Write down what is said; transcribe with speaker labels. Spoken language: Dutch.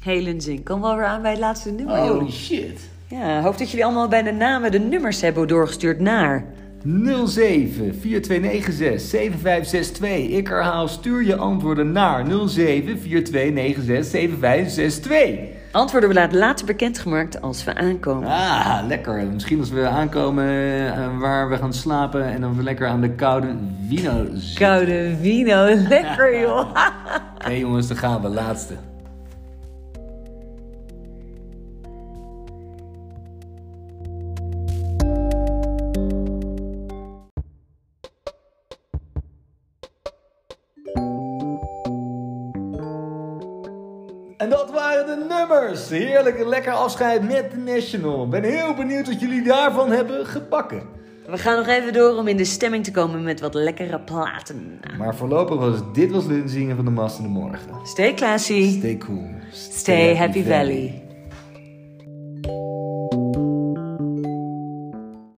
Speaker 1: Helen Zin. Kom wel weer aan bij het laatste nummer,
Speaker 2: Holy
Speaker 1: joh.
Speaker 2: shit.
Speaker 1: Oh. Ja, hoop dat jullie allemaal bij de namen de nummers hebben doorgestuurd naar...
Speaker 2: 07 4296 7562. Ik herhaal, stuur je antwoorden naar 07 4296 7562.
Speaker 1: Antwoorden we laten later bekendgemaakt als we aankomen.
Speaker 2: Ah, lekker. Misschien als we aankomen eh, waar we gaan slapen en dan lekker aan de koude wino zitten.
Speaker 1: Koude wino, lekker joh.
Speaker 2: Hé jongens, dan gaan we. Laatste. En dat waren de nummers. Heerlijk, een lekker afscheid met The National. Ben heel benieuwd wat jullie daarvan hebben gebakken.
Speaker 1: We gaan nog even door om in de stemming te komen met wat lekkere platen.
Speaker 2: Maar voorlopig was dit was Lunzingen van de Mast in de Morgen.
Speaker 1: Stay classy.
Speaker 2: Stay cool.
Speaker 1: Stay happy valley.